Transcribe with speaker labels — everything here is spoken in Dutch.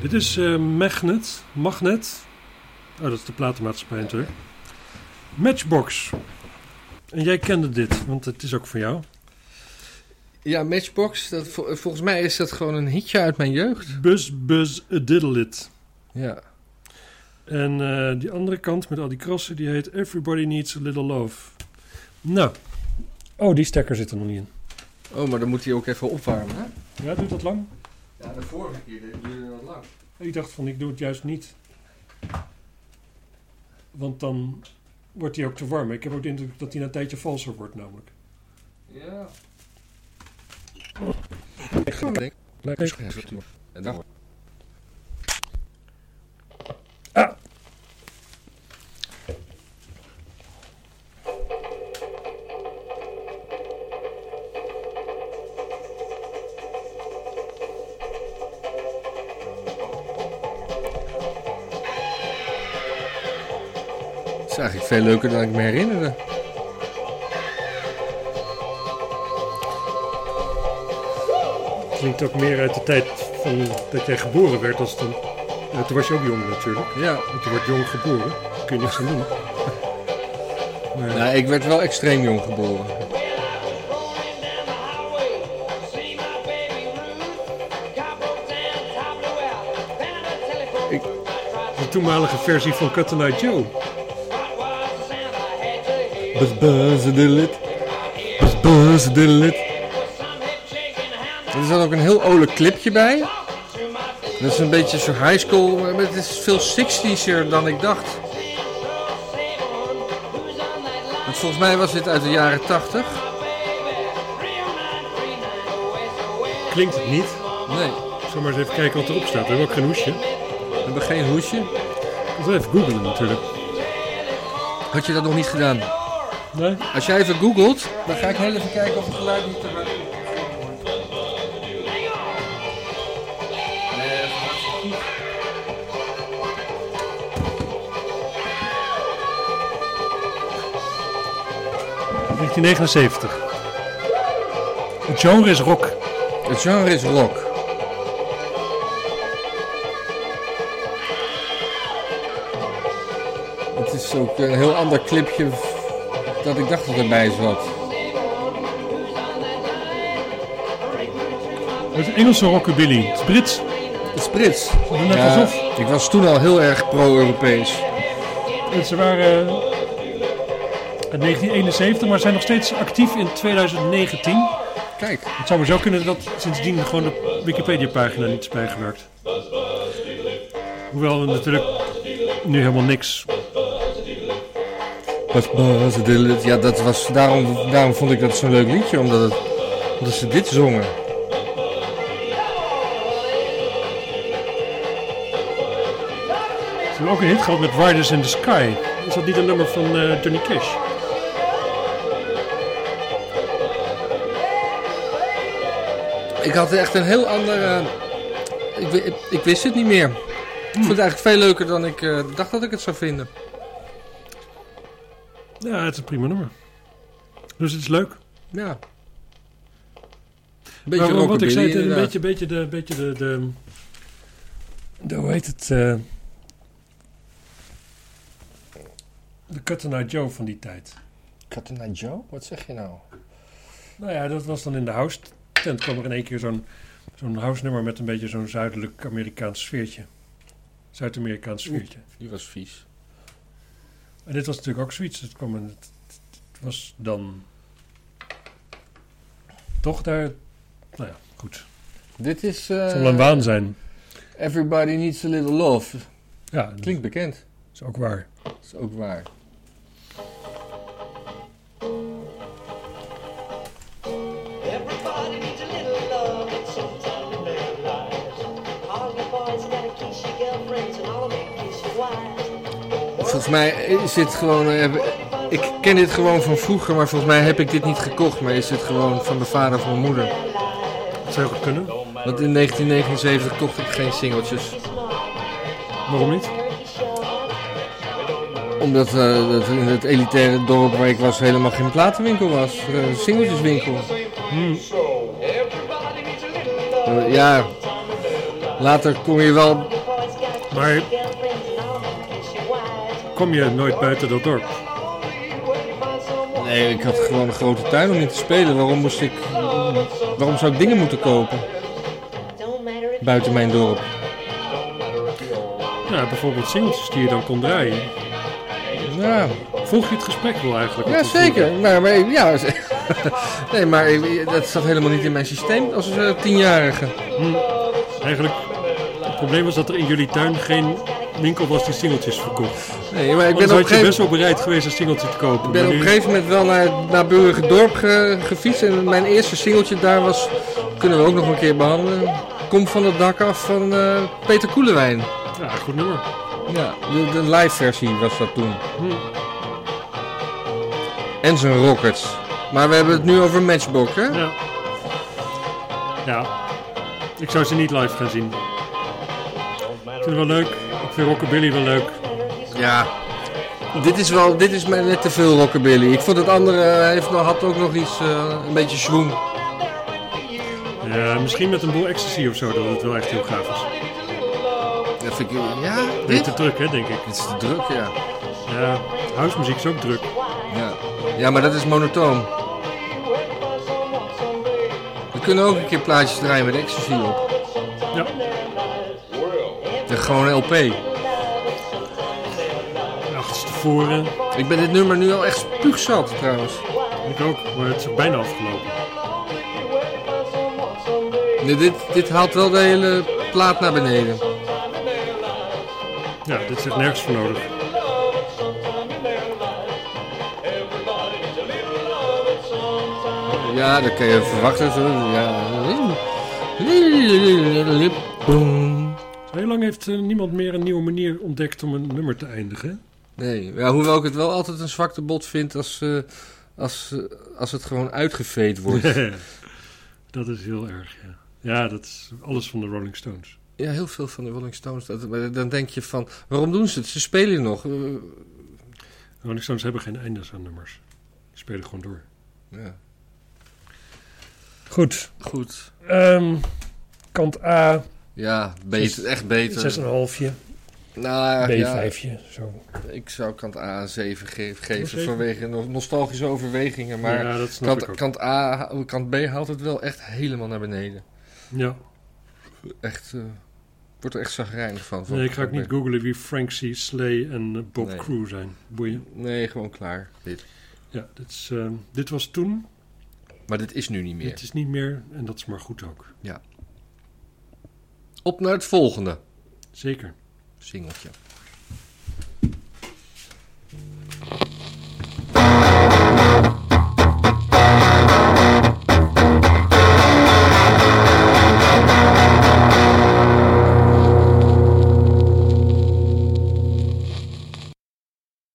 Speaker 1: Dit is eh, Magnet. Magnet. Oh, dat is de platenmaatschappij natuurlijk. Matchbox. En jij kende dit, want het is ook van jou.
Speaker 2: Ja, Matchbox, dat, vol- volgens mij is dat gewoon een hitje uit mijn jeugd.
Speaker 1: Buzz Buzz a Diddle It.
Speaker 2: Ja.
Speaker 1: En eh, die andere kant met al die krassen, die heet Everybody Needs a Little Love. Nou. Oh, die stekker zit er nog niet in.
Speaker 2: Oh, maar dan moet hij ook even opwarmen, hè?
Speaker 1: Ja, duurt dat lang?
Speaker 2: Ja, de vorige keer duurde dat lang.
Speaker 1: Ik dacht van, ik doe het juist niet. Want dan wordt die ook te warm. Ik heb ook de indruk dat die na een tijdje valser wordt namelijk.
Speaker 2: Ja.
Speaker 1: Lekker.
Speaker 2: En dan... Het is eigenlijk veel leuker dan ik me herinnerde.
Speaker 1: Klinkt ook meer uit de tijd van dat jij geboren werd als toen. Ja, toen was je ook jong natuurlijk.
Speaker 2: Ja.
Speaker 1: Want je wordt jong geboren. Daar kun je niks aan doen. Maar,
Speaker 2: Nou, ik werd wel extreem jong geboren.
Speaker 3: Ik...
Speaker 1: De toenmalige versie van Cut the Night Joe.
Speaker 2: Buzz buzz de lid. Buzz buzz de lid. Er zat ook een heel olijk clipje bij. Dat is een beetje zo high school, maar het is veel 60'er dan ik dacht. Want volgens mij was dit uit de jaren 80.
Speaker 1: Klinkt het niet?
Speaker 2: Nee,
Speaker 1: Zullen we maar eens even kijken wat erop staat. We hebben ook geen hoesje.
Speaker 2: we hebben geen hoesje.
Speaker 1: Moeten we even googlen natuurlijk.
Speaker 2: Had je dat nog niet gedaan?
Speaker 1: Nee?
Speaker 2: Als jij even googelt, dan ga ik heel even kijken of het geluid niet te hard is.
Speaker 1: ...1979. Het genre is rock.
Speaker 2: Het genre is rock. Het is ook een heel ander clipje v- dat ik dacht dat erbij zat.
Speaker 1: Het Engelse rockabilly. Het is Brits.
Speaker 2: Het is Brits.
Speaker 1: doen net alsof.
Speaker 2: ik was toen al heel erg pro-Europees.
Speaker 1: En ze waren eh, in 1971, maar zijn nog steeds actief in 2019.
Speaker 2: Kijk,
Speaker 1: Het zou maar zo kunnen dat sindsdien gewoon de Wikipedia-pagina niet is bijgewerkt. Hoewel we natuurlijk nu helemaal niks.
Speaker 2: Buzz, buzz, diddle- ja, dat was, daarom, daarom vond ik dat zo'n leuk liedje, omdat, het, omdat ze dit zongen.
Speaker 1: Ze hebben ook een hit gehad met Riders in the Sky. Is dat niet een nummer van eh, Johnny Cash?
Speaker 2: Ik had echt een heel ander... eh, ik, wi- ik, ik wist het niet meer. Ik vond het eigenlijk veel leuker dan ik eh, dacht dat ik het zou vinden.
Speaker 1: Ja, het is een prima nummer. Dus het is leuk.
Speaker 2: Ja. Een beetje
Speaker 1: maar wat ik
Speaker 2: rockabilly,
Speaker 1: zei, het, een
Speaker 2: inderdaad.
Speaker 1: beetje, beetje, de, beetje de, de, de... Hoe heet het? eh, de Cutter Night Joe van die tijd.
Speaker 2: Katana Joe? Wat zeg je nou?
Speaker 1: Nou ja, dat was dan in de house tent. kwam er in één keer zo'n zo'n house nummer met een beetje zo'n zuidelijk Amerikaans sfeertje. Zuid-Amerikaans sfeertje.
Speaker 2: Die was vies.
Speaker 1: En dit was natuurlijk ook zoiets. Het kwam en het, het- het was dan toch daar. Nou ja, goed.
Speaker 2: Dit is
Speaker 1: Het
Speaker 2: eh,
Speaker 1: zal wel een waan zijn.
Speaker 2: Everybody Needs a Little Love.
Speaker 1: Ja, dat
Speaker 2: Klinkt bekend.
Speaker 1: is ook waar.
Speaker 2: Dat is ook waar.
Speaker 3: Everybody needs a little love, but sometimes we make it lies. All your boys gotta kiss your girlfriends, and all of you kiss your wives.
Speaker 2: Volgens mij is dit gewoon... eh, ik ken dit gewoon van vroeger, maar volgens mij heb ik dit niet gekocht. Maar is dit gewoon van mijn vader of mijn moeder.
Speaker 1: Het zou goed kunnen.
Speaker 2: Want in 1979 kocht ik geen singeltjes.
Speaker 1: Waarom niet?
Speaker 2: Omdat eh, dat in het elitaire dorp waar ik was helemaal geen platenwinkel was. Er een singeltjeswinkel.
Speaker 1: Hmm.
Speaker 2: Eh, ja, later kon je wel
Speaker 1: Maar kom je nooit buiten dat dorp?
Speaker 2: Nee, ik had gewoon een grote tuin om in te spelen. Waarom moest ik... Waarom zou ik dingen moeten kopen buiten mijn dorp?
Speaker 1: Ja, Nou, bijvoorbeeld singeltjes die je dan kon draaien.
Speaker 2: Ja,
Speaker 1: Volg je het gesprek wel eigenlijk?
Speaker 2: ja
Speaker 1: wat we
Speaker 2: zeker. Nou,
Speaker 1: voeren?
Speaker 2: Maar, maar, ja, ze- nee, maar eh, dat zat helemaal niet in mijn systeem als eh, tienjarige.
Speaker 1: Eigenlijk, het probleem was dat er in jullie tuin geen winkel was die singeltjes verkocht.
Speaker 2: Nee, maar ik
Speaker 1: Anders
Speaker 2: ben op een
Speaker 1: had je
Speaker 2: gegeven
Speaker 1: best wel bereid geweest een singeltje te kopen.
Speaker 2: Ik ben op
Speaker 1: maar nu-
Speaker 2: een gegeven moment wel naar, naar Burgerdorp ge- gefietst en mijn eerste singeltje daar was, kunnen we ook nog een keer behandelen, Kom van het dak af van eh, Peter Koelewijn.
Speaker 1: Ja, goed nummer.
Speaker 2: Ja, de, de live versie was dat toen.
Speaker 1: Hm.
Speaker 2: En zijn Rockets. Maar we hebben het nu over Matchbox, hè?
Speaker 1: Ja. Ja. Ik zou ze niet live gaan zien. Ik vind het wel leuk. Ik vind Rockabilly wel leuk.
Speaker 2: Ja. Dit is wel, dit is mij net te veel rockabilly. Ik vond het andere eh, heeft, nog- had ook nog iets, eh, een beetje schwoen.
Speaker 1: Ja, misschien met een boel ecstasy of zo, dat het wel echt heel gaaf is.
Speaker 2: Dat vind ik, ja,
Speaker 1: Beetje
Speaker 2: dit?
Speaker 1: te druk, hè, denk ik.
Speaker 2: Dit is te druk, ja.
Speaker 1: Ja, huismuziek is ook druk.
Speaker 2: Ja, ja maar dat is monotoom. We kunnen ook een keer plaatjes draaien met ecstasy op.
Speaker 1: Ja.
Speaker 2: De gewone LP.
Speaker 1: Achterstevoren.
Speaker 2: Ik ben dit nummer nu al echt spuugzat trouwens.
Speaker 1: Ik ook, maar het is bijna afgelopen.
Speaker 2: Nee, dit, dit haalt wel de hele plaat naar beneden.
Speaker 1: Ja, dit is echt nergens voor nodig.
Speaker 2: Ja, dat kan je verwachten. Zo. Ja. Boom.
Speaker 1: Heel lang heeft eh, niemand meer een nieuwe manier ontdekt om een nummer te eindigen. hè?
Speaker 2: Nee, ja, hoewel ik het wel altijd een zwakte bot vind als, eh, als, eh, als het gewoon uitgeveed wordt.
Speaker 1: dat is heel erg, ja. Ja, dat is alles van de Rolling Stones.
Speaker 2: Ja, heel veel van de Rolling Stones. dat- maar Dan denk je van, waarom doen ze het? Ze spelen nog. Eh,
Speaker 1: De Rolling Stones hebben geen eindes aan nummers. Die spelen gewoon door.
Speaker 2: Ja,
Speaker 1: Goed. Ehm,
Speaker 2: goed.
Speaker 1: kant A,
Speaker 2: Ja, beter, echt beter.
Speaker 1: 6,5,
Speaker 2: Nou, ja,
Speaker 1: Zo.
Speaker 2: ik zou kant A een 7 ge-
Speaker 1: zeven?
Speaker 2: geven vanwege no- nostalgische overwegingen. Maar
Speaker 1: ja, dat snap ik
Speaker 2: kant,
Speaker 1: ook.
Speaker 2: kant A, kant B haalt het wel echt helemaal naar beneden.
Speaker 1: Ja.
Speaker 2: Echt, eh wordt er echt zagrijnig van. van
Speaker 1: Nee, ik ga ook
Speaker 2: kant
Speaker 1: niet
Speaker 2: B.
Speaker 1: googlen wie Frank C. Slay en eh, Bob
Speaker 2: Nee.
Speaker 1: Crew zijn. Boeien.
Speaker 2: Nee, gewoon klaar. Dit.
Speaker 1: Ja, dit, is, eh, dit was toen.
Speaker 2: Maar dit is nu niet meer.
Speaker 1: Dit is niet meer. En dat is maar goed ook.
Speaker 2: Op naar het volgende
Speaker 1: Zeker.
Speaker 2: singeltje.